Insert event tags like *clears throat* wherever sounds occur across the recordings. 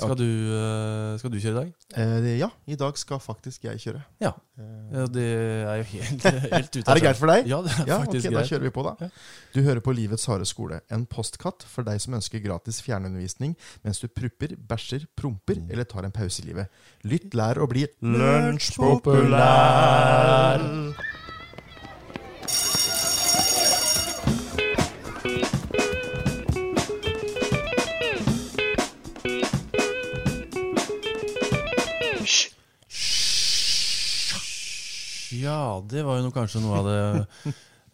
Skal du, eh, skal du kjøre i dag? Eh, det- ja, i dag skal faktisk jeg kjøre. Ja. Eh, Ja, det er jo helt, *laughs* helt ute er det greit for deg? Ja, det er Ja, ok, faktisk da greit. kjører vi på, da. Ja. Du hører på Livets harde skole, en postkatt for deg som ønsker gratis fjernundervisning mens du prupper, bæsjer, promper Mm. eller tar en pause i livet. Lytt, lær og bli lunsjpopulær! Ja, det var jo noe, kanskje noe av det *laughs*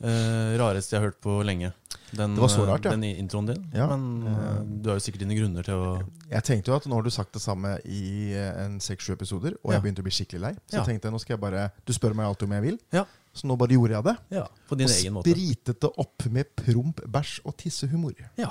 eh, rareste jeg har hørt på lenge. Den, Det var så eh, rart, ja. Den i- introen din. Ja, Men eh, du har jo sikkert dine grunner til å Jeg tenkte jo at nå har du sagt det samme i eh, en seks-sju episoder, og Ja. jeg begynte å bli skikkelig lei. Så Ja. jeg tenkte nå skal jeg bare Du spør meg alltid om jeg vil, Ja. så nå bare gjorde jeg det. ja, På din egen og måte. spritet det opp med promp, bæsj og tissehumor. Ja.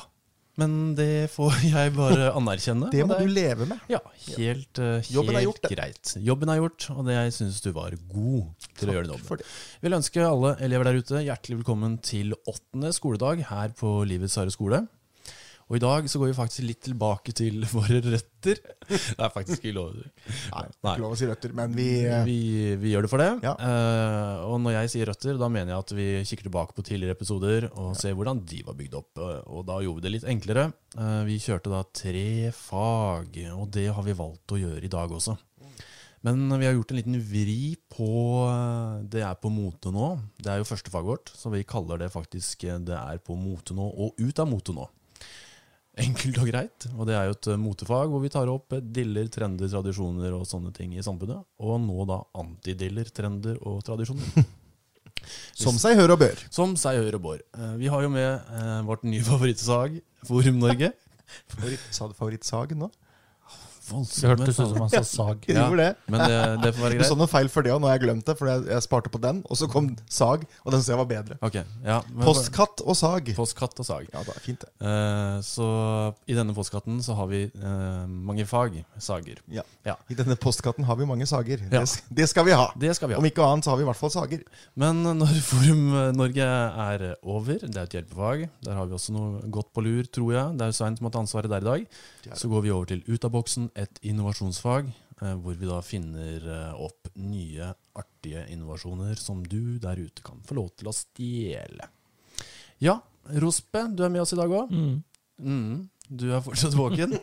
Men det får jeg bare anerkjenne. Det og må er- du leve med. Ja, helt, eh, helt Jobben er gjort, det. greit. Jobben er gjort, og det jeg syns du var god til å gjøre den for jobben. det. Vil ønske alle elever der ute hjertelig velkommen til åttende skoledag her på Livets harde skole. Og i dag så går vi faktisk litt tilbake til *laughs* våre røtter. Det er faktisk ikke lov. Nei, Nei. Ikke lov å si røtter, men vi eh, Vi, vi gjør det for det. Ja. Eh, og når jeg sier røtter, da mener jeg at vi kikker tilbake på tidligere episoder og ser hvordan de var bygd opp. Eh, Og da gjorde vi det litt enklere. Eh, vi kjørte da tre fag, og det har vi valgt å gjøre i dag også. Men vi har gjort en liten vri på eh, Det er på mote nå. Det er jo første faget vårt, så vi kaller det faktisk eh, Det er på mote nå og ut av mote nå. Enkelt og greit. Og det er jo et eh, motefag hvor vi tar opp eh, diller, trender, tradisjoner og sånne ting i samfunnet. Og nå da antidiller, trender og tradisjoner. Som seg hør og bør. Som seg hør og bår. Eh, Vi har jo med eh, vårt nye favorittsag, Forum Norge. Sa du favorittsagen nå? Det hørtes ut som han sa sag. Jeg *laughs* Ja. gjorde det. Men det, det får være Du sa greit. noe feil for det, og nå har jeg glemt det. For jeg, jeg sparte på den, og så kom sag, og den syntes jeg var bedre. Ok, ja. men- Postkatt og sag. Postkatt og sag. Ja, det er fint, det. Eh, Så i denne postkatten så har vi eh, mange fag, sager. Ja. Ja. I denne postkatten har vi mange sager. Ja. Det, s- det skal vi ha. Det skal vi ha. Om ikke annet så har vi i hvert fall sager. Men når Forum Norge er over, det er et hjelpefag, der har vi også noe godt på lur, tror jeg. Det er Svein som har tatt ansvaret der i dag. Det er det. Så går vi over til Ut av boksen, et innovasjonsfag, eh, hvor vi da finner eh, opp nye, artige innovasjoner som du der ute kan få lov til å stjele. Ja, Rospe, du er med oss i dag òg. Mm. Mm. Du er fortsatt våken.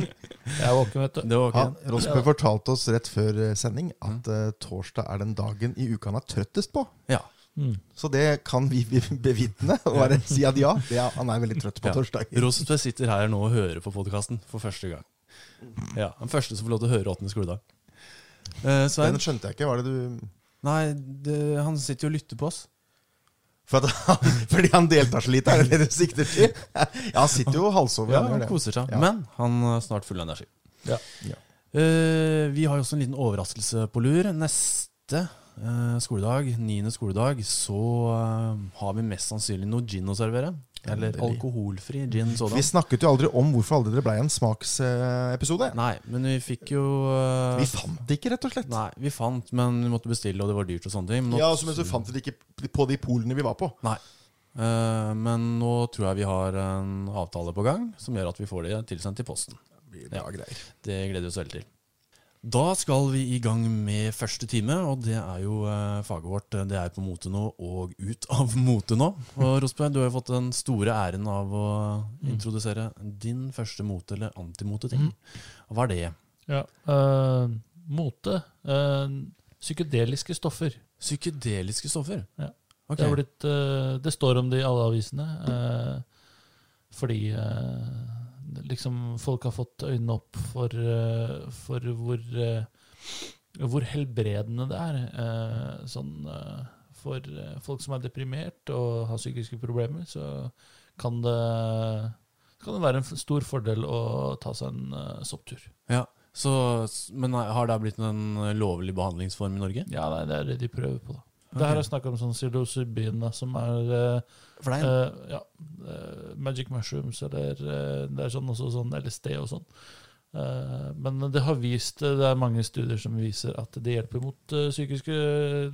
*laughs* Jeg er våken, vet du. Det var Ja, ok. Mm. Rospe fortalte oss rett før eh, sending at eh, torsdag er den dagen i uka han er trøttest på. Ja. Mm. Så det kan vi be- bevitne og bare si at ja, det er, han er veldig trøtt på Ja. torsdager. Rospe sitter her nå og hører på podkasten for første gang. Ja, Den første som får lov til å høre Åttende skoledag. Eh, Svein? Den skjønte jeg ikke. Var det du Nei, det, han sitter jo og lytter på oss. For at han, *laughs* fordi han deltar så lite, er det det du sikter til? *laughs* Ja, han sitter jo og halsover. Ja, han gjør Han det. koser seg. Ja. Men han er snart full av energi. Ja. Ja. Eh, vi har jo også en liten overraskelse på lur. Neste eh, skoledag, niende skoledag, så eh, har vi mest sannsynlig noe gin å servere. Eller Endelig. alkoholfri gin sådan. Vi snakket jo aldri om hvorfor aldri det ble en smaksepisode. Nei, men vi fikk jo eh, Vi fant det ikke, rett og slett. Nei, vi fant, men vi måtte bestille, og det var dyrt og sånne ting. Men nå, Ja, altså, Men så fant vi det ikke på de polene vi var på. Nei. Eh, men nå tror jeg vi har en avtale på gang som gjør at vi får det tilsendt i posten. Det blir bra greier. Det gleder vi oss veldig til. Da skal vi i gang med første time, og det er jo eh, faget vårt. Det er på mote nå og ut av mote nå. Og Rosberg, du har jo fått den store æren av å Mm. introdusere din første mote- eller antimote-ting. Og Hva er det? Ja. Eh, mote. Eh, psykedeliske stoffer. Psykedeliske stoffer. Ja. Ok. Det, er blitt, eh, det står om det i alle avisene. eh, fordi eh, liksom folk har fått øynene opp for, eh, for hvor, eh, hvor helbredende det er. eh, sånn, eh, for eh, folk som er deprimert og har psykiske problemer, så kan det, kan det være en f- stor fordel å ta seg en eh, sopptur. Ja. Så, men eh, har det blitt en lovlig behandlingsform i Norge? Ja, nei, det er det de prøver på, da. Ok. Det her er snakk om sånn psilocybin, da, som er eh, For det er en Eh, ja. eh, Magic mushrooms eller eh, Det er sånn også sånn LSD og sånn. Eh, Men det har vist, eh, det er mange studier som viser at det hjelper mot eh, psykiske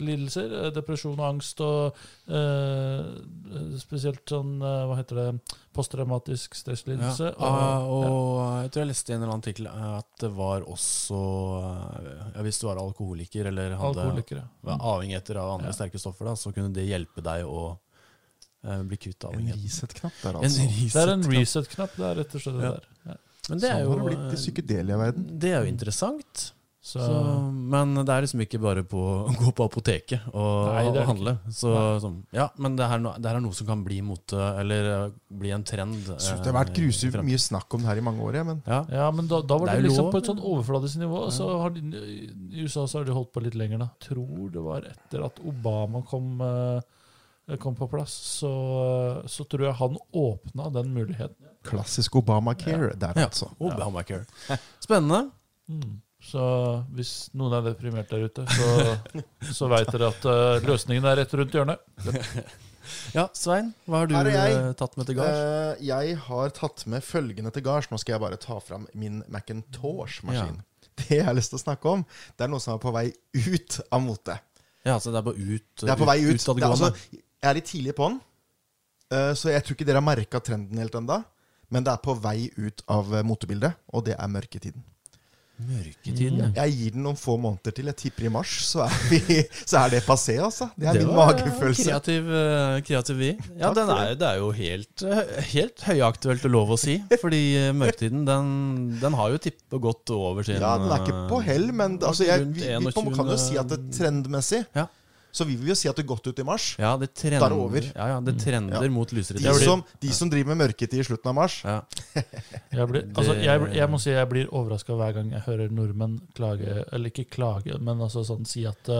lidelser. eh, Depresjon og angst og eh, spesielt sånn, eh, hva heter det, posttraumatisk stresslidelse. Ah, og- ja. og jeg tror jeg leste i en eller annen artikkel eh, at det var også eh, ja, Hvis du var alkoholiker eller hadde Alkoholikere. var avhengig etter av andre Ja. sterke stoffer, da, så kunne det hjelpe deg å eh, bli kvitt En avhengigheten. reset-knapp der, En altså. reset. Det er en reset-knapp. Det er rett og slett det Ja. der. Ja. Men det er Sånn jo eh, har det blitt i psykedelia-verden. Det er jo interessant. Så, Så, men det er liksom ikke bare på å gå på apoteket og, Nei, det er det og handle. Så, sånn, ja, men det her, no- det her er noe som kan bli mote, eller eh, bli en trend. Synes eh, Det har vært i grusomt fremtiden. mye snakk om det her i mange år, jeg, men Ja. ja, men da, da var Det det, er jo liksom lov, på et men- sånn overfladisk nivå. Ja. Så har de, I USA så har de holdt på litt lenger, da. Tror det var etter at Obama kom, eh, kom på plass, så, så tror jeg han åpna den muligheten. klassisk Obamacare der, Ja. altså. Oh, Obamacare. Spennende. Mm. Så hvis noen er deprimert der ute, *laughs* så, så veit dere at eh, løsningen er rett rundt hjørnet. Ja, Svein, hva har du Her er jeg. eh, tatt med til gards? Eh, jeg har tatt med følgende til gards. Nå skal jeg bare ta fram min Macintosh-maskin. Det jeg har lyst til å snakke om, det er noe som er på vei ut av mote. ja, så det er på ut. Det er på vei ut. utadgående. Det er, altså, jeg er litt tidlig på den, eh, så jeg tror ikke dere har merka trenden helt ennå. Men det er på vei ut av eh, motebildet, og det er mørketiden. Mørketiden. ja. Jeg gir den noen få måneder til. Jeg tipper i mars, så er, vi, *laughs* så er det passé, altså. Det er min var magefølelse. Kreativ, eh, kreativ vi. Ja, Takk den for er, det er jo helt, eh, helt høyaktuelt å lov å si. Fordi eh, mørketiden, den, den har jo tippet og gått over sin eh, Ja, den er ikke på hell, men det- altså, jeg, rundt vi, vi på- kan jo si at det er 21.. trendmessig Ja. Så vi vil jo si at det er godt ut i mars. Ja, det trender, Da er det over. Mm. Ja, ja, det trender Ja. mot lysere De som, de som driver med mørketid i slutten av mars ja. Jeg, blir, Det- altså, jeg, jeg må si jeg blir overraska hver gang jeg hører nordmenn klage, eller ikke klage, men altså sånn si at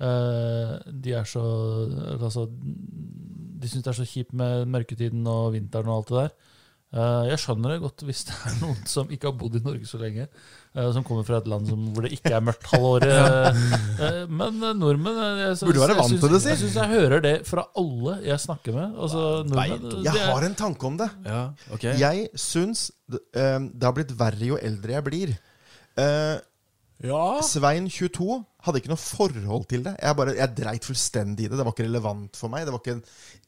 eh, de er så Altså, de syns det er så kjipt med mørketiden og vinteren og alt det der. Eh, jeg skjønner det godt hvis det er noen som ikke har bodd i Norge så lenge, eh, som kommer fra et land som, hvor det ikke er mørkt halve *laughs* året. Eh, men eh, nordmenn eh, jeg, Burde være vant jeg syns- til det, si. Jeg syns jeg hører det fra alle jeg snakker med. Altså, nordmenn, Beint. det Jeg er- har en tanke om det. ja, ok. Jeg syns det, eh, det har blitt verre jo eldre jeg blir. Eh, Ja. Svein 22 hadde ikke noe forhold til det. Jeg, bare, jeg dreit fullstendig i det. Det var ikke relevant for meg. Det var ikke en,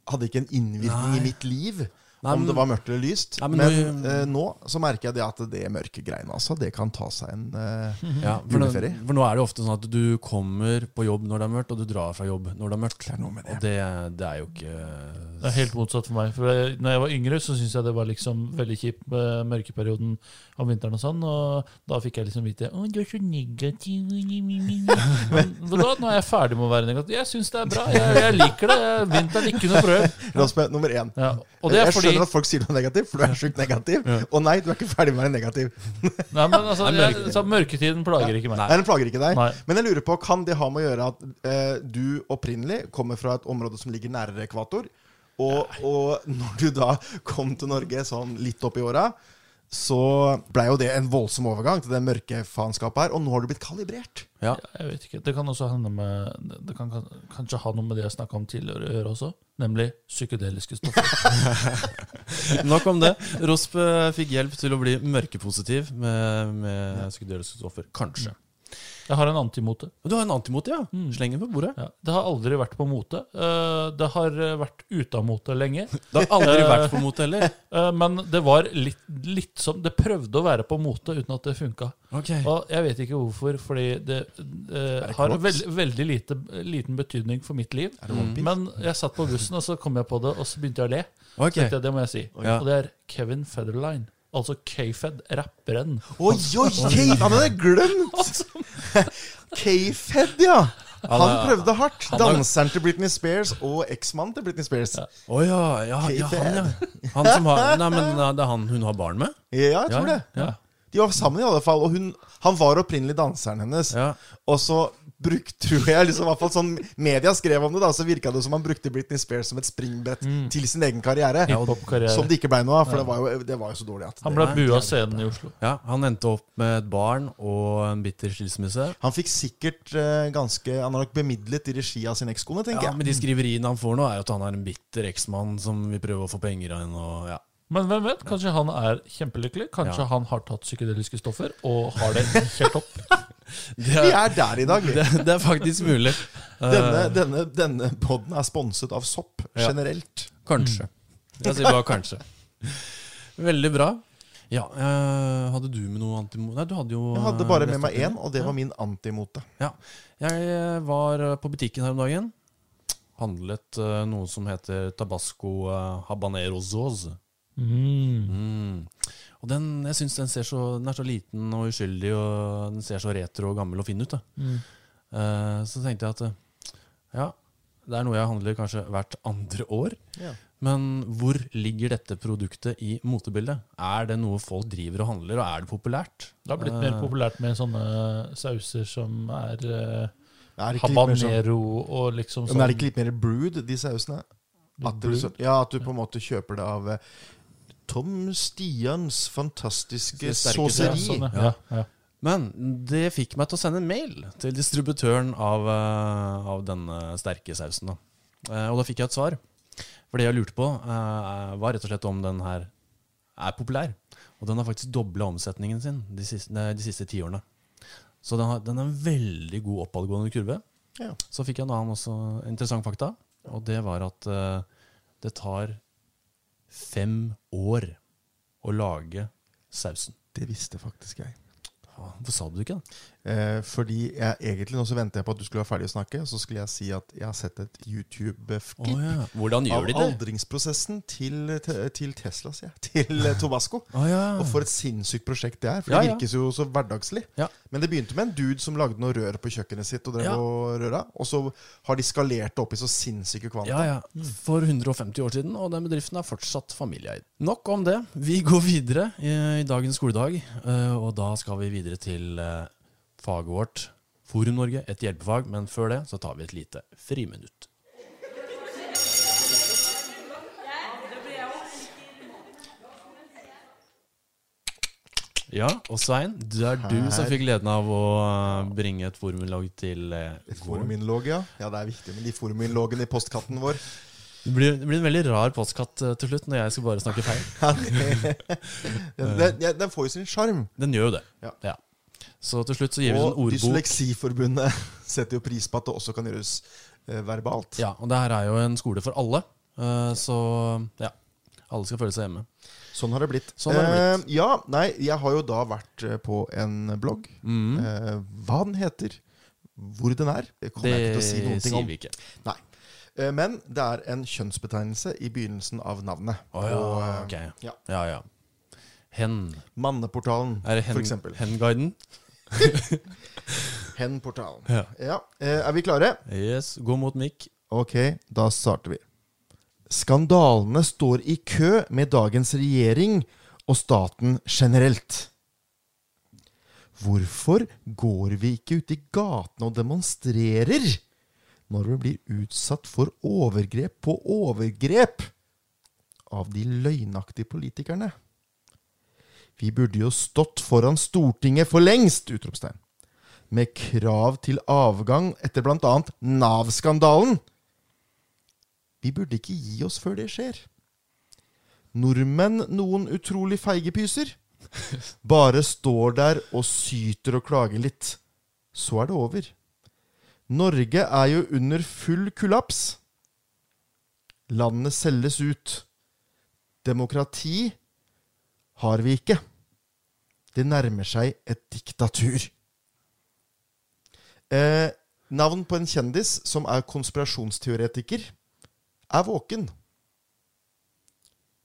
hadde ikke en innvirkning Nei. i mitt liv. Nei, om men- det var mørkt eller lyst. Nei, men men nå- eh, nå så merker jeg det at det mørke greiene, altså, det kan ta seg en eh, Ja, for, nå, Juleferie. for nå er det jo ofte sånn at du kommer på jobb når det er mørkt, og du drar fra jobb når det er mørkt. Det er noe med det. Og det, det er jo ikke Det er helt motsatt for meg. For jeg, når jeg var yngre, så syntes jeg det var liksom veldig kjipt med mørkeperioden om vinteren og sånn. Og da fikk jeg liksom vite Å, du er så negativ. *laughs* Men da, nå er jeg ferdig med å være negativ. Jeg syns det er bra. Jeg, jeg liker det. Jeg- Vinteren er ikke noe problem. Rasmus, nummer én. Ja, og det er jeg fordi skjønner at folk sier du er negativ, for du er sjukt negativ. Og nei, du er ikke ferdig med å være negativ. Nei, men altså, jeg, så Mørketiden plager ikke meg. Nei, Den plager ikke deg. Nei. Men jeg lurer på, kan det ha med å gjøre at eh, du opprinnelig kommer fra et område som ligger nærere ekvator, og, og når du da kom til Norge sånn litt opp i åra, så blei jo det en voldsom overgang til det mørke faenskapet her, og nå har du blitt kalibrert. Ja. Jeg vet ikke. Det kan også hende med det- Det kan kan- kanskje ha noe med det jeg snakka om tidligere å gjøre også, nemlig psykedeliske stoffer. Nok om det. Rosp eh, fikk hjelp til å bli mørkepositiv med, med psykedeliske stoffer. Kanskje. Jeg har en antimote. Men Du har en antimote, ja. Mm. Sleng den på bordet. Ja, det har aldri vært på mote. Eh, Det har eh, vært ute av mote lenge. *laughs* Det har aldri Eh. vært på mote heller. Eh, Men det var litt, litt som Det prøvde å være på mote uten at det funka. Ok. Og jeg vet ikke hvorfor, fordi det eh, det har crocs? veld, veldig lite, liten betydning for mitt liv. Er det One Piece? Men jeg satt på bussen, og så kom jeg på det, og så begynte jeg å le. Ok. Tenkte jeg, Det må jeg si. Ja. Og det er Kevin Federline. Altså K-Fed, rapperen. Oi, oi, Kate, han hadde jeg glemt! K-Fed, ja. Han prøvde hardt. Danseren til Britney Spears og eksmannen til Britney Spears. Å ja, ja, ja, han, ja. Han som har Nei, men det er han hun har barn med? Ja, jeg Ja, tror det. ja. De var sammen i alle fall, og hun, han var opprinnelig danseren hennes. Ja. Og så brukte, tror jeg, liksom, i hvert fall sånn media skrev om det, da, så virka det som han brukte Britney Spears som et springbrett til sin egen karriere. Hiphop-karriere. Som det ikke blei noe av, for det, var jo, det var jo så dårlig at Han det. ble bua av scenen i Oslo. ja, Han endte opp med et barn og en bitter skilsmisse. Han fikk sikkert eh, ganske Han har nok bemidlet i regi av sin ekskone, Ja, tenker jeg. Men de skriveriene han får nå, er jo at han er en bitter eksmann som vil prøve å få penger av henne. Og, ja. Men hvem vet? Kanskje han er kjempelykkelig? Kanskje Ja. han har tatt psykedeliske stoffer og har det helt *laughs* topp? Det Vi er, er der i dag. vi. det, det er faktisk mulig. Eh, Denne, denne, denne poden er sponset av sopp Ja. generelt. Kanskje. Mm. Jeg sier bare kanskje. Veldig bra. Ja, eh, hadde du med noe antimot? Nei, du hadde jo Jeg hadde bare eh, med meg lest én, opp og det var min antimote. Jeg eh, var eh, på butikken her om dagen. Handlet eh, noe som heter Tabasco eh, habanero sauce. Mm. Mm. Og den, jeg syns den, ser så- den er så liten og uskyldig, og den ser så retro og gammel og fin ut. Da. Mm. Eh, så tenkte jeg at eh, ja, det er noe jeg handler kanskje hvert andre år. Ja. Men hvor ligger dette produktet i motebildet? Er det noe folk driver og handler, og er det populært? Det har blitt Eh, mer populært med sånne sauser som er eh, Er det ikke litt mer sånn- habanero og liksom Ja, sånn Men er det ikke litt mer brewed, de sausene? At du, liksom- Brewed? ja, at du på en måte kjøper det av eh, Tom Stians fantastiske Det sterke ja, sauseri. sånn, ja. Ja. Ja, ja. Men det fikk meg til å sende en mail til distributøren av, eh, av denne sterke sausen. Da. Eh, Og da fikk jeg et svar. For det jeg lurte på, eh, var rett og slett om den her er populær. Og den har faktisk dobla omsetningen sin de siste, nei, de siste ti årene. Så den, har, den er en veldig god oppadgående kurve. Ja. Så fikk jeg en annen også interessant fakta, og det var at eh, det tar fem år å lage sausen. Det visste faktisk jeg. Ah, Hvorfor sa du det ikke? da? Eh, fordi jeg egentlig nå så venter jeg på at du skulle være ferdig å snakke, og så skulle jeg si at jeg har sett et Å, YouTube-klipp ja. Hvordan av gjør de det? aldringsprosessen til, te- til Tesla, sier jeg. Til eh, Tobasco. Å, ja. Og for et sinnssykt prosjekt det er. Mm. For Ja, det ja. virkes jo så hverdagslig. Ja. Men det begynte med en dude som lagde noe rør på kjøkkenet sitt, og drev Ja. og røra. Og så har de skalert det opp i så sinnssyke kvanta. Ja, ja. For 150 år siden, og den bedriften er fortsatt familieeid. Nok om det. Vi går videre i, i dagens skoledag, eh, og da skal vi videre til eh, faget vårt. Forum Norge, et hjelpefag, men før det så tar vi et lite friminutt. Ja, og Svein, det er du som Her. fikk gleden av å eh, bringe et forumlag til eh, Et gården. foruminnlog, ja. Ja, det er viktig med de foruminnlogene i postkatten vår. *laughs* Det blir, det blir en veldig rar postkatt eh, til slutt, når jeg skal bare snakke feil. *laughs* Den, den, ja, den får jo sin sjarm. Den gjør jo det. Ja. Så til slutt så gir vi sånn Og ordbok. Dysleksiforbundet *laughs* setter jo pris på at det også kan gjøres eh, verbalt. Ja, og det her er jo en skole for alle, eh, så ja. Alle skal føle seg hjemme. Sånn har det blitt. Sånn har det Eh, ja, nei, jeg har jo da vært eh, på en blogg. Mm. Eh, hva den heter, hvor den er, det kommer Det jeg ikke til å si noen ting sier om. vi ikke. Nei. Eh, Men det er en kjønnsbetegnelse i begynnelsen av navnet. Å ja, Og, eh, ok. ja. Ja, ja. Hen. Manneportalen, Er det for eksempel. hen, Henguiden? Henportalen. Ja. Ja. eh, Er vi klare? Yes. Gå mot mikk. Ok, da starter vi. Skandalene står i kø med dagens regjering og staten generelt. Hvorfor går vi ikke ut i gatene og demonstrerer når vi blir utsatt for overgrep på overgrep av de løgnaktige politikerne? Vi burde jo stått foran Stortinget for lengst! utropstegn. Med krav til avgang etter bl.a. Nav-skandalen. Vi burde ikke gi oss før det skjer. Nordmenn noen utrolig feige pyser. Bare står der og syter og klager litt. Så er det over. Norge er jo under full kollaps. Landet selges ut. Demokrati har vi ikke. Det nærmer seg et diktatur. Eh, navn på en kjendis som er konspirasjonsteoretiker er våken.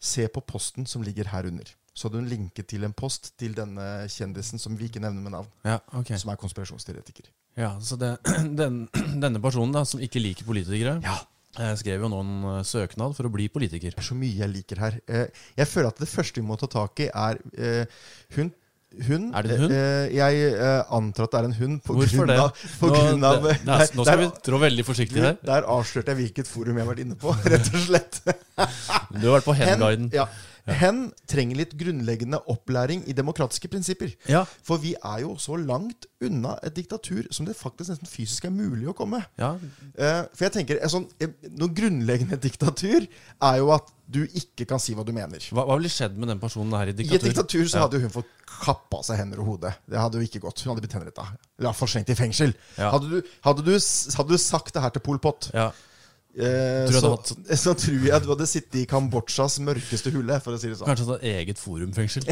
Se på posten som ligger her under. Så hadde hun linket til en post til denne kjendisen som vi ikke nevner med navn, Ja, ok. som er konspirasjonsteoretiker. Ja, så det, *clears throat* den, denne personen da, som ikke liker politikere, Ja. eh, skrev jo nå en eh, søknad for å bli politiker. Det er så mye jeg liker her. Eh, Jeg føler at det første vi må ta tak i, er eh, hun. Hun, Er det en hund? Eh, Jeg eh, antar at det er en hund. På Hvorfor grunn det? Av, på grunn av, det, det, er- nå skal vi der, trå veldig forsiktig her. *laughs* der avslørte jeg hvilket forum jeg har vært inne på, rett og slett. Du har vært på Hen- Henguiden. Ja. Hen trenger litt grunnleggende opplæring i demokratiske prinsipper. Ja. For vi er jo så langt unna et diktatur som det faktisk nesten fysisk er mulig å komme. ja. Eh, for jeg tenker, en sånn, eh, Noe grunnleggende diktatur er jo at du ikke kan si hva du mener. Hva, hva ville skjedd med den personen her i I et diktatur? diktatur så Ja. hadde jo hun fått kappa seg hender og hode. Det hadde jo ikke gått. Hun hadde blitt henretta. Eller iallfall slengt i fengsel. Ja. Hadde, du, hadde, du, s- hadde du sagt det her til Pol Pot, Ja. eh, Tror jeg så, hadde *laughs* så tror jeg du hadde sittet i Kambodsjas mørkeste hule, for å si det sånn. Kanskje et eget *laughs* forumfengsel.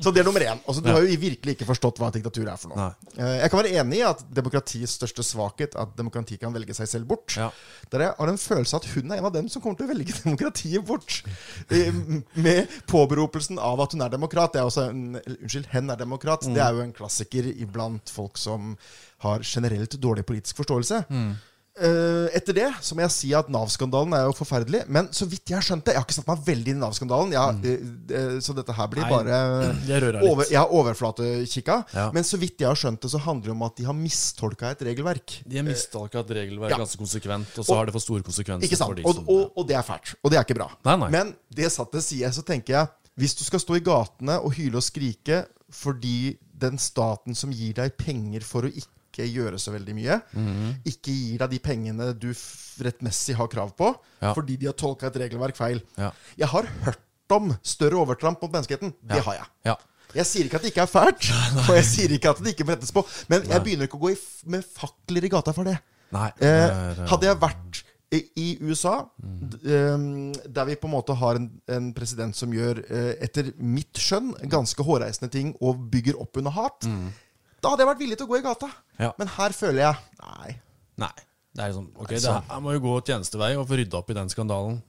Så det er nummer én. Altså, du Ja. har jo virkelig ikke forstått hva et diktatur er for noe. Nei. Eh, Jeg kan være enig i at demokratiets største svakhet at demokrati kan velge seg selv bort. Ja. Der jeg har en følelse at hun er en av dem som kommer til å velge *laughs* demokratiet bort. Eh, Med påberopelsen av at hun er demokrat. Det er også en, eller, unnskyld, hen er demokrat. Mm. Det er jo en klassiker iblant folk som har generelt dårlig politisk forståelse. Mm. Eh, etter det så må jeg si at Nav-skandalen er jo forferdelig. Men så vidt jeg har skjønt det Jeg har ikke satt meg veldig inn i Nav-skandalen. Jeg har- eh, eh, Så dette her blir Mm. Nei, bare Jeg rører over, litt. jeg har overflatekikka, Ja. men så vidt jeg har skjønt det, så handler det om at de har mistolka et regelverk. De har mistolka et regelverk Ja. ganske konsekvent, og så har det for store konsekvenser. For Ikke sant? de Og, som, og, og det er fælt. Og det er ikke bra. sånn, Nei, nei. Men det satt til side, så tenker jeg Hvis du skal stå i gatene og hyle og skrike fordi den staten som gir deg penger for å ikke gjøre så veldig mye, Mhm. ikke gir deg de pengene du f- rettmessig har krav på, Ja. fordi de har tolka et regelverk feil Ja. Jeg har hørt om større overtramp mot menneskeheten. Det har jeg. ja. Jeg sier ikke at det ikke er fælt, og jeg sier ikke at det ikke må rettes på, men jeg begynner ikke å gå i f med fakler i gata for det. Nei. Eh, det er, Mm. hadde jeg vært i i USA, d- eh, der vi på en måte har en, en president som gjør, eh, etter mitt skjønn, ganske hårreisende ting og bygger opp under hat, da hadde jeg vært villig til å gå i gata. Mm. Ja. Men her føler jeg Nei. Nei. Det er liksom, ok, Nei, det sånn. her må jo gå tjenestevei og få rydda opp i den skandalen.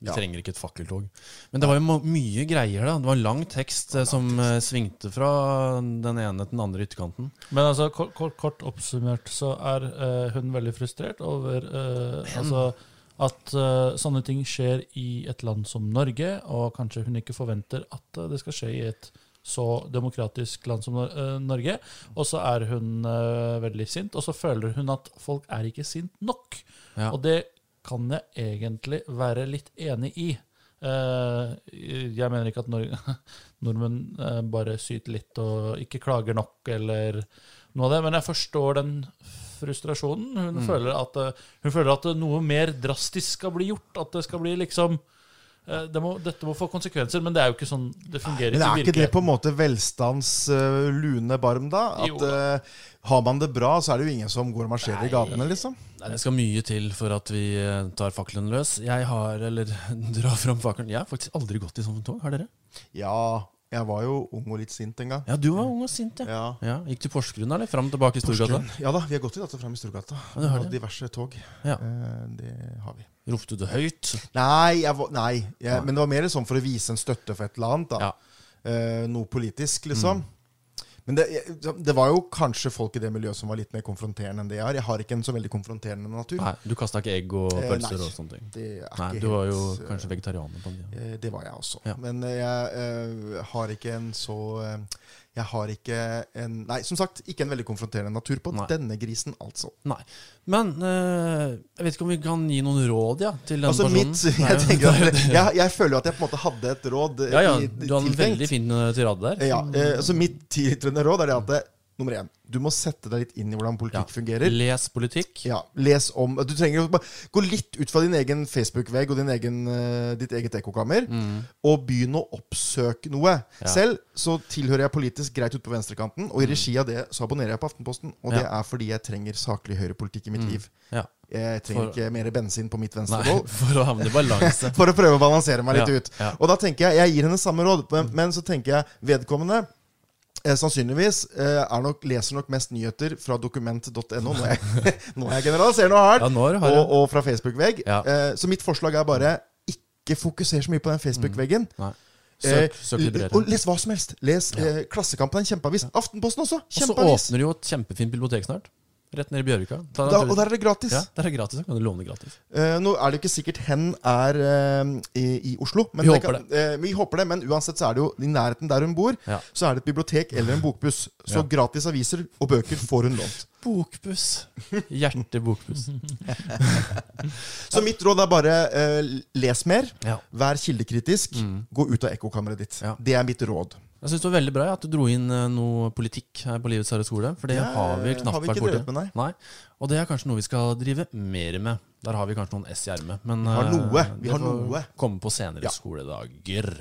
Vi Ja. trenger ikke et fakkeltog. Men det var jo ma- mye greier, da. Det var en lang tekst eh, som eh, svingte fra den ene til den andre ytterkanten. Men altså, kort, kort, kort oppsummert så er eh, hun veldig frustrert over eh, altså, at eh, sånne ting skjer i et land som Norge, og kanskje hun ikke forventer at eh, det skal skje i et så demokratisk land som Nor- eh, Norge. Og så er hun eh, veldig sint, og så føler hun at folk er ikke sint nok. Ja. Og det kan jeg egentlig være litt enig i. Eh, jeg mener ikke at Nor *laughs* nordmenn eh, bare syter litt og ikke klager nok eller noe av det, men jeg forstår den frustrasjonen. Hun, Mm. føler, at, eh, hun føler at noe mer drastisk skal bli gjort. At det skal bli liksom eh, det må, Dette må få konsekvenser, men det er jo ikke sånn det fungerer. Men er i ikke det virkeligheten. på en måte velstands eh, lune barm, da? Jo At eh, har man det bra, så er det jo ingen som går og marsjerer i gatene, liksom? Nei, det skal mye til for at vi eh, tar fakkelen løs. Jeg har, eller *laughs* drar fram fakkelen Jeg har faktisk aldri gått i sånt tog. Har dere? Ja, jeg var jo ung og litt sint en gang. Ja, du var ung og sint, ja. Ja. ja. Gikk til Porsgrunn, eller? Fram og tilbake i Storgata? Ja da, vi har gått i dette frem i Storgata. Ja, du har Og det. diverse tog. Ja. Eh, det har vi. Ropte du høyt? Nei, jeg var, nei, jeg, men det var mer sånn for å vise en støtte for et eller annet. da. Ja. Mm. Eh, noe politisk, liksom. Men det, jeg- det var jo kanskje folk i det miljøet som var litt mer konfronterende enn det jeg har. Jeg har ikke en så veldig konfronterende natur. Nei, du kasta ikke egg og Eh, pølser nei. og sånne ting? Det er Nei, ikke du var jo helt, eh, kanskje vegetarianer på den tiden. Eh, Det var jeg også. Ja. Men eh, jeg eh, har ikke en så eh, Jeg har ikke en Nei, som sagt, ikke en veldig konfronterende natur på Nei. denne grisen, altså. Nei. Men eh, jeg vet ikke om vi kan gi noen råd ja, til denne Altså personen. mitt, *laughs* jeg, *laughs* tenker at, jeg, jeg føler jo at jeg på en måte hadde et råd eh, ja, ja, i- du har en tiltenkt. veldig fin eh, tirade der. Ja, eh, altså Mitt tiltrende råd er det at det, nummer én, du må sette deg litt inn i hvordan politikk fungerer. Les politikk. Ja, les om Du trenger å bare gå litt ut fra din egen Facebook-vegg og din egen, eh, ditt eget ekkokammer, Mm. og begynne å oppsøke noe. Selv så tilhører jeg politisk greit ute på venstrekanten, Mm. og i regi av det så abonnerer jeg på Aftenposten. Og det er fordi jeg trenger saklig høyrepolitikk i mitt liv. Ja. Jeg trenger Mm. For- ikke mer bensin på mitt Nei, venstrebål. *laughs* for å havne i balanse. *laughs* For å prøve å balansere meg litt Ja, ut. ja. Mm. Og da tenker jeg, jeg gir henne samme råd, men, men så tenker jeg vedkommende Eh, sannsynligvis eh, er nok, leser nok mest nyheter fra dokument.no. Nå er jeg, *laughs* nå er jeg generaliserer noe hardt! Ja, nå er det og, hardt. og fra Facebook-vegg. Ja. Eh, så mitt forslag er bare ikke fokuser så mye på den Facebook-veggen. Nei. Eh, Mm. Søk, søk litt og bredere. les hva som helst. Les eh, Klassekampen er en kjempeavis. Aftenposten også. Og så Kjempeavis. åpner jo et kjempefint bibliotek snart. Rett ned i Bjørvika. Ta deg Da, en og tur. der er det gratis. ja, der er gratis. da Kan du låne gratis. Eh, nå er det jo ikke sikkert hen er eh, i, i Oslo. Men Vi det håper kan, eh, vi håper det, men uansett så er det jo i nærheten der hun bor, Ja. så er det et bibliotek eller en bokbuss. Så Ja. gratis aviser og bøker får hun lånt. Bokbuss. Hjertebokbuss. *laughs* Så mitt råd er bare eh, les mer. Ja. Vær kildekritisk. Mm. Gå ut av ekkokammeret ditt. Ja. Det er mitt råd. Jeg syns det var veldig bra ja, at du dro inn eh, noe politikk her på Livets harde skole. For det Ja, har vi har knapt vi vært ikke borti. drevet med, nei. Og det er kanskje noe vi skal drive mer med. Der har vi kanskje noen S i ermet. Men har eh, noe. Vi det har får noe. komme på senere Ja. skoledager.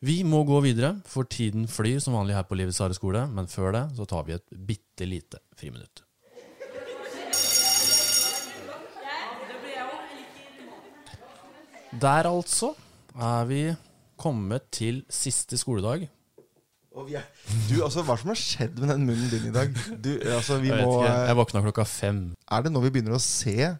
Vi må gå videre, for tiden flyr som vanlig her på Livets harde skole. Men før det så tar vi et bitte lite friminutt. Der altså er vi kommet til siste skoledag. Og vi er, du, altså, Hva som har skjedd med den munnen din i dag? Du, altså, vi Jeg vet må, ikke, jeg våkna klokka fem. er det nå vi begynner å se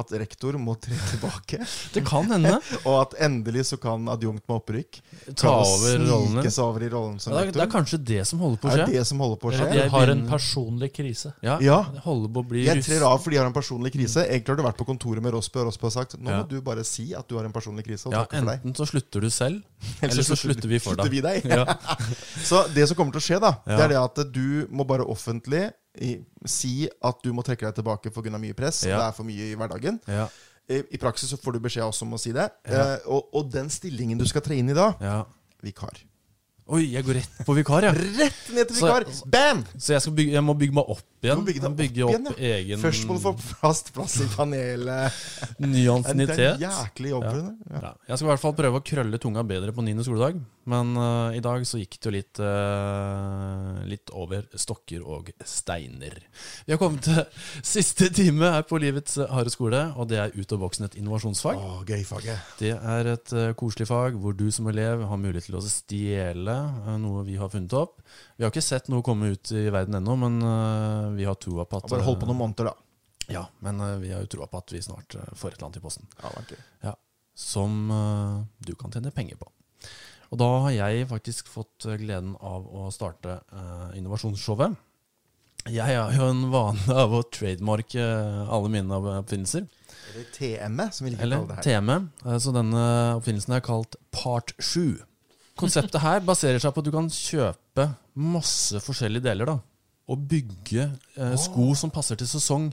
at rektor må tre tilbake? Det kan hende. Og at endelig så kan adjunkt med opprykk *laughs* Ta klare å over rollen snike din. seg over i rollen som Det er, det er rektor? kanskje det som holder på å Er det skje. det som holder på å Ja, skje? det Jeg har en begynner- personlig krise. Ja, Ja. det holder på å bli Jeg russ. trer av fordi jeg har en personlig krise. Egentlig har du vært på kontoret med Rosby, og Rosby har sagt nå Ja. må du bare si at du har en personlig krise, og Ja, takke for deg. enten så slutter du *laughs* selv, eller så slutter vi for slutter deg. vi deg. Ja. *laughs* Så det som kommer til å skje, da, det Ja. er det at du må bare offentlig i- si at du må trekke deg tilbake pga. mye press. Ja. Det er for mye i hverdagen. Ja, I, I praksis så får du beskjed også om å si det. Eh, og, og den stillingen du skal tre inn i da, ja. vikar. Oi, jeg går rett på vikar, *laughs* ja. Rett ned til Så- vikar! Bam! Så jeg, skal bygge, jeg må bygge meg opp igjen. Du må bygge deg bygge opp opp, igjen, egen Først må du få fast plass i *laughs* panelet. ny Det er en ansiennitet. jæklig jobb. Ja. det der. Ja. Ja. Jeg skal i hvert fall prøve å krølle tunga bedre på 9. skoledag, men eh, i dag så gikk det jo litt, eh, litt over stokker og steiner. Vi har kommet til *laughs* siste time her på Livets harde skole, og det er Ut av boksen et innovasjonsfag. Å, gøy faget. Det er et eh, koselig fag hvor du som elev har mulighet til å stjele eh, noe vi har funnet opp. Vi har ikke sett noe komme ut i verden ennå, men eh, vi har troa på at Bare hold på noen måneder, da. Ja, men eh, vi har jo troa på at vi snart eh, får et eller annet i posten. Ja, det var gøy. Ja, som eh, du kan tjene penger på. Og da har jeg faktisk fått eh, gleden av å starte eh, innovasjonsshowet. Jeg har jo en vane av å trademarke eh, alle mine oppfinnelser, Eller TM-et, som vi liker å eller kalle det her. TM. eh, Så denne oppfinnelsen er kalt Part 7. Konseptet her *laughs* baserer seg på at du kan kjøpe masse forskjellige deler da, og bygge eh, sko som passer til sesong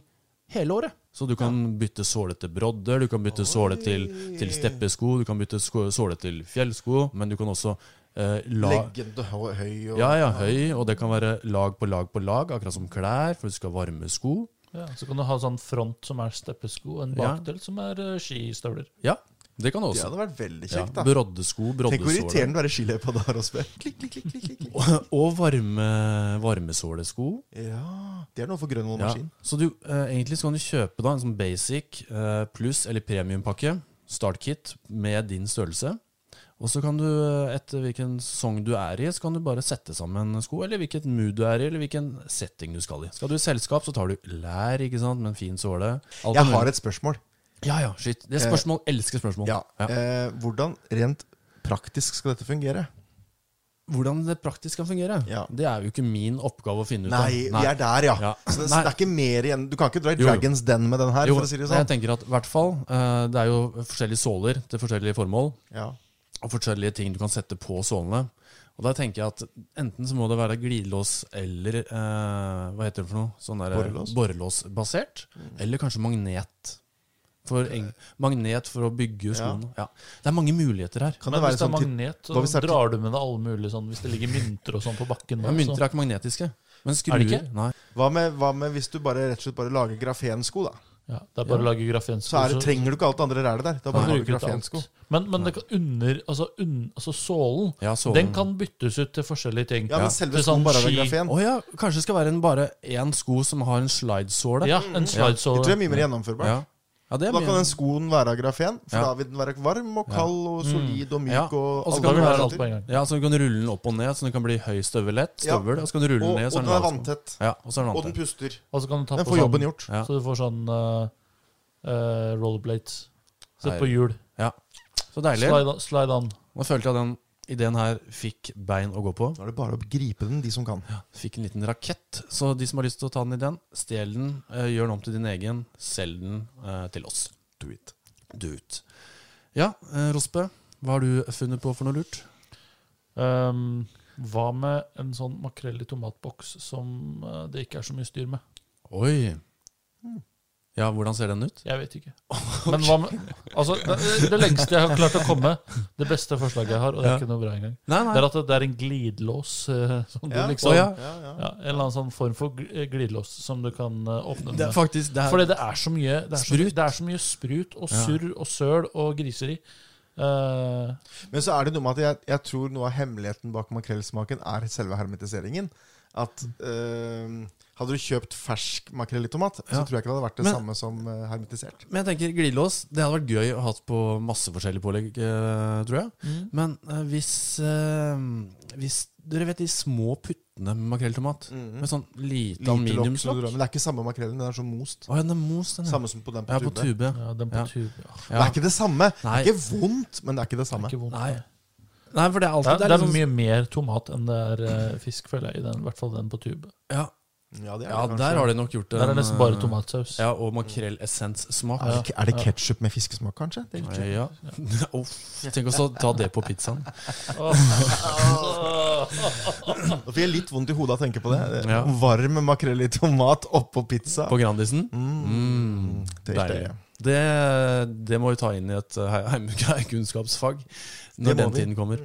hele året. Så du kan bytte såle til brodder, du kan bytte såle til, til steppesko, du kan bytte sko, såle til fjellsko, men du kan også eh, la Leggende og høy og ja, ja, høy, og det kan være lag på lag på lag, akkurat som klær, for du skal varme sko. Ja, så kan du ha sånn front som er steppesko, og en Ja. bakdel som er eh, skistøvler. Ja, det kan du Det også. hadde vært veldig Ja, kjekt, da. broddesko, Tenk hvor broddesåle. irriterende du er i skiløypa da, Rosbe. Klikk, klikk, klikk, klikk, klikk. Og- *laughs* Og varme, varmesålesko. Ja, det er noe for grønn Ja. maskin. Så du, eh, egentlig så kan du kjøpe da en sånn basic eh, pluss eller premiumpakke, startkit, med din størrelse. Og så kan du, eh, etter hvilken sesong du er i, så kan du bare sette sammen sko, eller hvilket mood du er i, eller hvilken setting du skal i. Skal du i selskap, så tar du lær, ikke sant, med en fin såle. Alt Jeg mulig. har et spørsmål. Ja, ja, shit. Det er spørsmål. Elsker spørsmål. Ja. Eh, hvordan rent praktisk skal dette fungere? Hvordan det praktisk kan fungere, Ja. det er jo ikke min oppgave å finne ut av. Nei, vi er der, ja. Ja. Så det, Nei. det er ikke mer igjen. Du kan ikke dra i Jo, jo. Dragons Den med den her, Jo, for å si det jeg sånn. tenker at i hvert fall, eh, det er jo forskjellige såler til forskjellige formål, Ja. og forskjellige ting du kan sette på sålene. Og da tenker jeg at enten så må det være glidelås eller eh, hva heter det for noe? Sånn der, Borrelås. Borrelåsbasert. Eller kanskje magnet. For eng magnet for å bygge skoene. Ja. Det er mange muligheter her. Kan Men det være hvis det er sånn til- magnet, Hva så hvis det er til- drar du med deg alle mulige sånn Hvis det ligger mynter og sånn på bakken Ja, nå, mynter så er ikke magnetiske. Men skruer Er det ikke? Nei. Hva, med, hva med hvis du bare rett og slett bare lager grafensko, da? ja, det er bare å lage grafensko. Så er det, trenger du ikke alt det andre rælet der. Det er bare å lage bruker ut alt. grafensko. Men, men det kan under, altså, unn- altså sålen, Ja, sålen. den kan byttes ut til forskjellige ting. Ja, men selve Til sånn skoen bare har ski- Å grafen. ja, kanskje det skal være en, bare én sko som har en slidesåle. Ja, en Det tror jeg slidesåle. er mye mer gjennomførbart. Ja. Ja, det er Da kan mye- den skoen være av grafen, for Ja. Mm. da vil den være varm og kald og solid og myk. Ja, Og, og så alle Da vil du ha muligheter. alt på en gang. Ja, så du kan rulle den opp og ned, så den kan bli høy støvelett. Ja. Støvel, og så kan du rulle Og- den ned, så den og lav. den er vanntett. Ja, og så er den Og den vanntett. puster. Og så kan du ta Den på får jobben sånn, gjort. Ja. så du får sånn eh, eh, rollerblades. Sett på hjul. Ja. Så deilig. Slide, on- slide on. Nå følte jeg at den ideen her fikk bein å gå på. Nå er det bare å gripe den, de som kan. Fikk en liten rakett. Så de som har lyst til å ta den ideen, stjel den, eh, gjør den om til din egen, selg den eh, til oss. Do it. Du ut. Ja, eh, Rospe, hva har du funnet på for noe lurt? Ehm, hva med en sånn makrell i tomatboks som eh, det ikke er så mye styr med? Oi. Hmm. Ja, hvordan ser den ut? Jeg *laughs* vet ikke. Men hva med Altså, det, det lengste jeg har klart å komme, det beste forslaget jeg har, og det Ja. er ikke noe bra engang, Nei, det er at det er en glidelås. eh, Som du Ja. liksom, Å, ja. ja. Ja, ja. en eller annen sånn form for gl- glidelås som du kan eh, åpne Det er med. faktisk det er, Fordi det er så mye det er så, Sprut. det er så mye sprut og Ja. surr og søl og griseri. Eh, Men så er det noe med at jeg, jeg tror noe av hemmeligheten bak makrellsmaken er selve hermetiseringen. At eh, Hadde du kjøpt fersk makrell i tomat, så Ja. tror jeg ikke det hadde vært det Men- samme som eh, hermetisert. Men jeg tenker glidelås Det hadde vært gøy å ha på masse forskjellige pålegg, eh, tror jeg. mm. Men eh, hvis, eh, hvis Dere vet de små puttene med makrelltomat? Mm. Med sånn lite aluminiumslokk? Men det er ikke samme makrellen. Den er så most. Å ja, den er mos, den. ja. Samme som på den på Ja, på tube. tube. Ja, den på Ja. tube. Ja. Det Ja. er ikke det samme. Nei. Det er ikke vondt, men det er ikke det samme. Ikke vondt. Nei. Nei, for det er Det alltid er, det er litt sånn- mye mer tomat enn det er eh, fisk, føler jeg. I den, i hvert fall den på tube. Ja, Ja, det ja der har de nok gjort Der er det nesten bare eh, tomatsaus. Ja, og makrellessenssmak. Er det, ikke- er det Ja. ketsjup med fiskesmak, kanskje? Det er litt Ja. *laughs* Uff. Tenk også å ta det på pizzaen. *laughs* kjipt. Nå fikk jeg litt vondt i hodet av å tenke på det. Mm, Ja. Varm makrell i tomat oppå pizza. På Grandisen. Mm. det er Deilig. det. Det, det må vi ta inn i et eh, *laughs* heim- kunnskapsfag Det må når den vi. tiden kommer.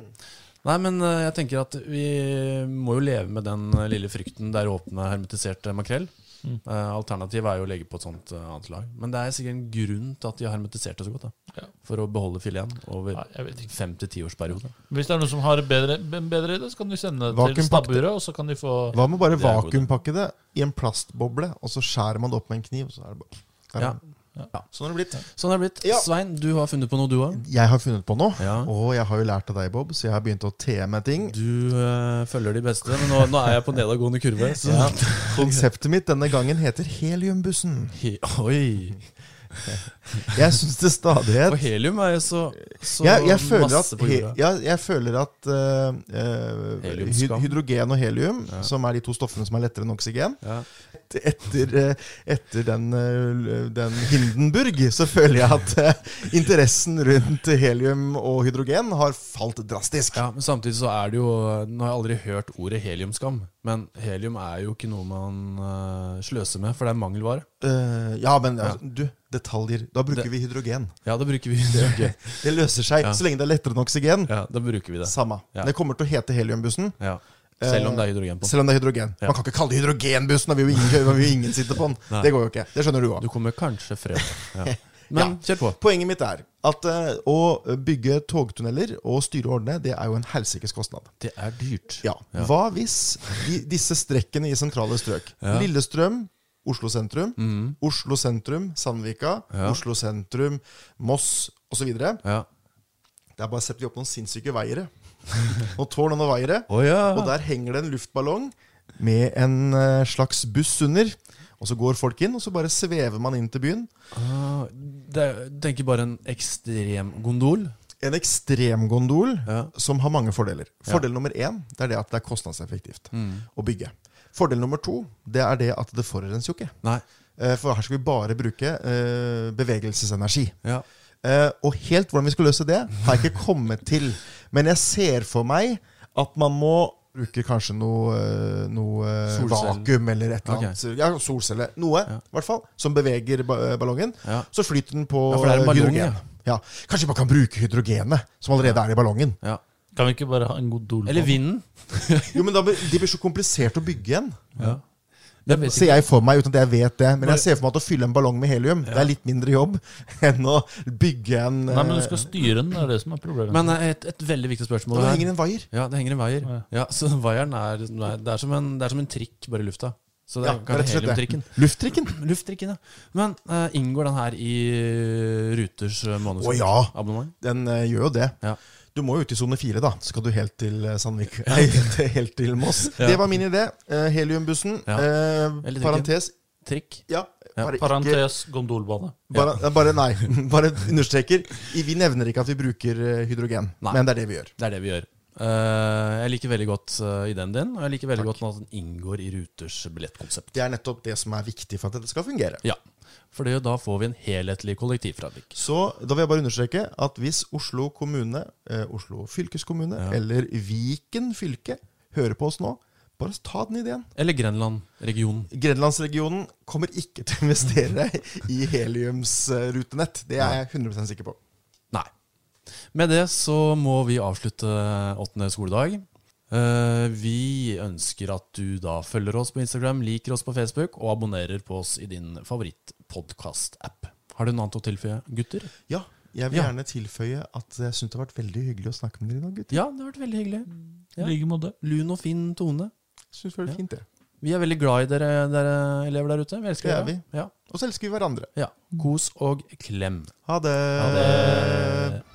Nei, men eh, jeg tenker at vi må jo leve med den eh, lille frykten der åpne hermetisert eh, makrell. Mm. Eh, Alternativet er jo å legge på et sånt eh, annet lag. Men det er sikkert en grunn til at de har hermetisert det så godt. Ja. Da. For å beholde fileten over Nei, jeg vet ikke. fem til tiårsperiode. Hvis det er noen som har bedre, en bedre idé, så kan de sende det til Vakuumpakte. snabburet, og så kan de få Hva med bare Det er en god idé. vakuumpakke det i en plastboble, og så skjærer man det opp med en kniv? og Så er det bare... Der er Ja. den. Ja. Sånn har det blitt. Sånn er det blitt. Ja. Svein, du har funnet på noe, du òg. Jeg har funnet på noe, Ja. og jeg har jo lært av deg, Bob, så jeg har begynt å te *laughs* med ting. Du eh, følger de beste, men nå, nå er jeg på nedadgående kurve. Så. Ja. Konseptet mitt denne gangen heter Heliumbussen. He *laughs* Oi! Jeg syns til stadighet Og helium er jo så, så jeg, jeg føler masse at, på he, jorda. jeg, jeg føler at eh, eh, Heliumskam. hyd- hydrogen og helium, Ja. som er de to stoffene som er lettere enn oksygen Ja. et- Etter, eh, etter den, eh, den Hindenburg så føler jeg at eh, interessen rundt helium og hydrogen har falt drastisk. ja, men samtidig så er det jo Nå har jeg aldri hørt ordet heliumskam, men helium er jo ikke noe man eh, sløser med, for det er mangelvare. Eh, ja, men altså, du, detaljer. Da bruker Det- vi hydrogen. Ja, da bruker vi det. ok. *laughs* Det løser seg Ja. så lenge det er lettere enn oksygen. Ja, da bruker vi det. Samme. Ja. Det kommer til å hete heliumbussen. Ja. Selv om det er hydrogen på den. eh, Selv om det er hydrogen. Ja. Man kan ikke kalle det hydrogenbussen. Da vil jo ingen, da vil jo ingen sitte på den. Nei. Det går jo ikke. Det skjønner du òg. Du kommer kanskje frem. *laughs* Ja. Men kjør på. Poenget mitt er at eh, å bygge togtunneler og styre og ordne, det er jo en helsikes kostnad. Det er dyrt. Ja. Ja. Hva hvis de, disse strekkene i sentrale strøk Ja. Lillestrøm, Oslo sentrum, Mhm. Oslo sentrum, Sandvika, Ja. Oslo sentrum, Moss osv. Det Ja. er bare å sette opp noen sinnssyke *laughs* veiere. Noen tårn og noen veiere. Å ja. Og der henger det en luftballong med en eh, slags buss under. Og så går folk inn, og så bare svever man inn til byen. Ah, det er, tenker bare en ekstrem gondol. En ekstremgondol Ja. som har mange fordeler. Ja. Fordel nummer én det er det at det er kostnadseffektivt Mm. å bygge. Fordel nummer to det er det at det forurenser jo ikke. Nei. Eh, For her skal vi bare bruke eh, bevegelsesenergi. Ja. Eh, Og helt hvordan vi skal løse det, har jeg ikke kommet til. Men jeg ser for meg at man må bruke kanskje noe, eh, noe eh, Solceller. vakuum eller et eller annet. Ja, solcelle. Noe, Ja. i hvert fall, som beveger ba- eh, ballongen. Ja. Så flyter den på Ja, for det er en eh, ballong, hydrogen. Ja. Kanskje man kan bruke hydrogenet som allerede er i ballongen. ja. Kan vi ikke bare ha en god dol Eller vinden. Jo, men da, blir- De blir så komplisert å bygge igjen. Ja. Jeg vet Ser ikke. jeg for meg uten at jeg vet det. Men jeg ser for meg at å fylle en ballong med helium Det er litt mindre jobb *laughs* enn å bygge en Nei, men du eh, skal styre den, det er det som er problemet. Men eh, et, et veldig viktig spørsmål. Da her. henger en vaier. Ja, det henger en vaier. Ja. Ja, så vaieren er, nei, det, er som en, det er som en trikk, bare i lufta. Så det Ja, er kanskje rett og slett det. heliumtrikken. Lufttrikken. Lufttrikken, ja. Men eh, inngår den her i Ruters eh, Å månedskort? ja, Abonnement? den eh, gjør jo det. Ja. Du må jo ut i sone fire, da. Så skal du helt til eh, Sandvik. Nei, *laughs* til- helt til Moss. Ja. Det var min idé. Eh, Heliumbussen. Ja. eh, Eller trikken. parentes. Trikk? Ja, Ja, bare ikke Parentes gondolbane. bare, bare nei. *laughs* Bare understreker. I- Vi nevner ikke at vi bruker eh, hydrogen, Nei. men det er det vi gjør. Det er det vi gjør. Eh, jeg liker veldig godt eh, ideen din, og jeg liker veldig godt at den inngår i Ruters billettkonsept. Det er nettopp det som er viktig for at dette skal fungere. Ja, for det, da får vi en helhetlig kollektivtrafikk. Så da vil jeg bare understreke at hvis Oslo kommune, eh, Oslo fylkeskommune Ja. eller Viken fylke hører på oss nå, Bare ta den ideen. Eller Grenland-regionen. Grenlandsregionen kommer ikke til å investere i heliumsrutenett. Det er jeg 100 sikker på. Nei. Med det så må vi avslutte åttende skoledag. Eh, Vi ønsker at du da følger oss på Instagram, liker oss på Facebook og abonnerer på oss i din favorittpodkast-app. Har du noe annet å tilføye, gutter? Ja, jeg vil Ja. gjerne tilføye at jeg syns det har vært veldig hyggelig å snakke med dere i dag, gutter. Ja, det har vært veldig hyggelig. Ja. I like måte. Lun og fin tone. Synes det var Ja. fint det. Vi er veldig glad i dere, dere elever der ute. Vi elsker Det er dere. Ja. Og så elsker vi hverandre. ja. Kos og klem. Ha det. Ha det.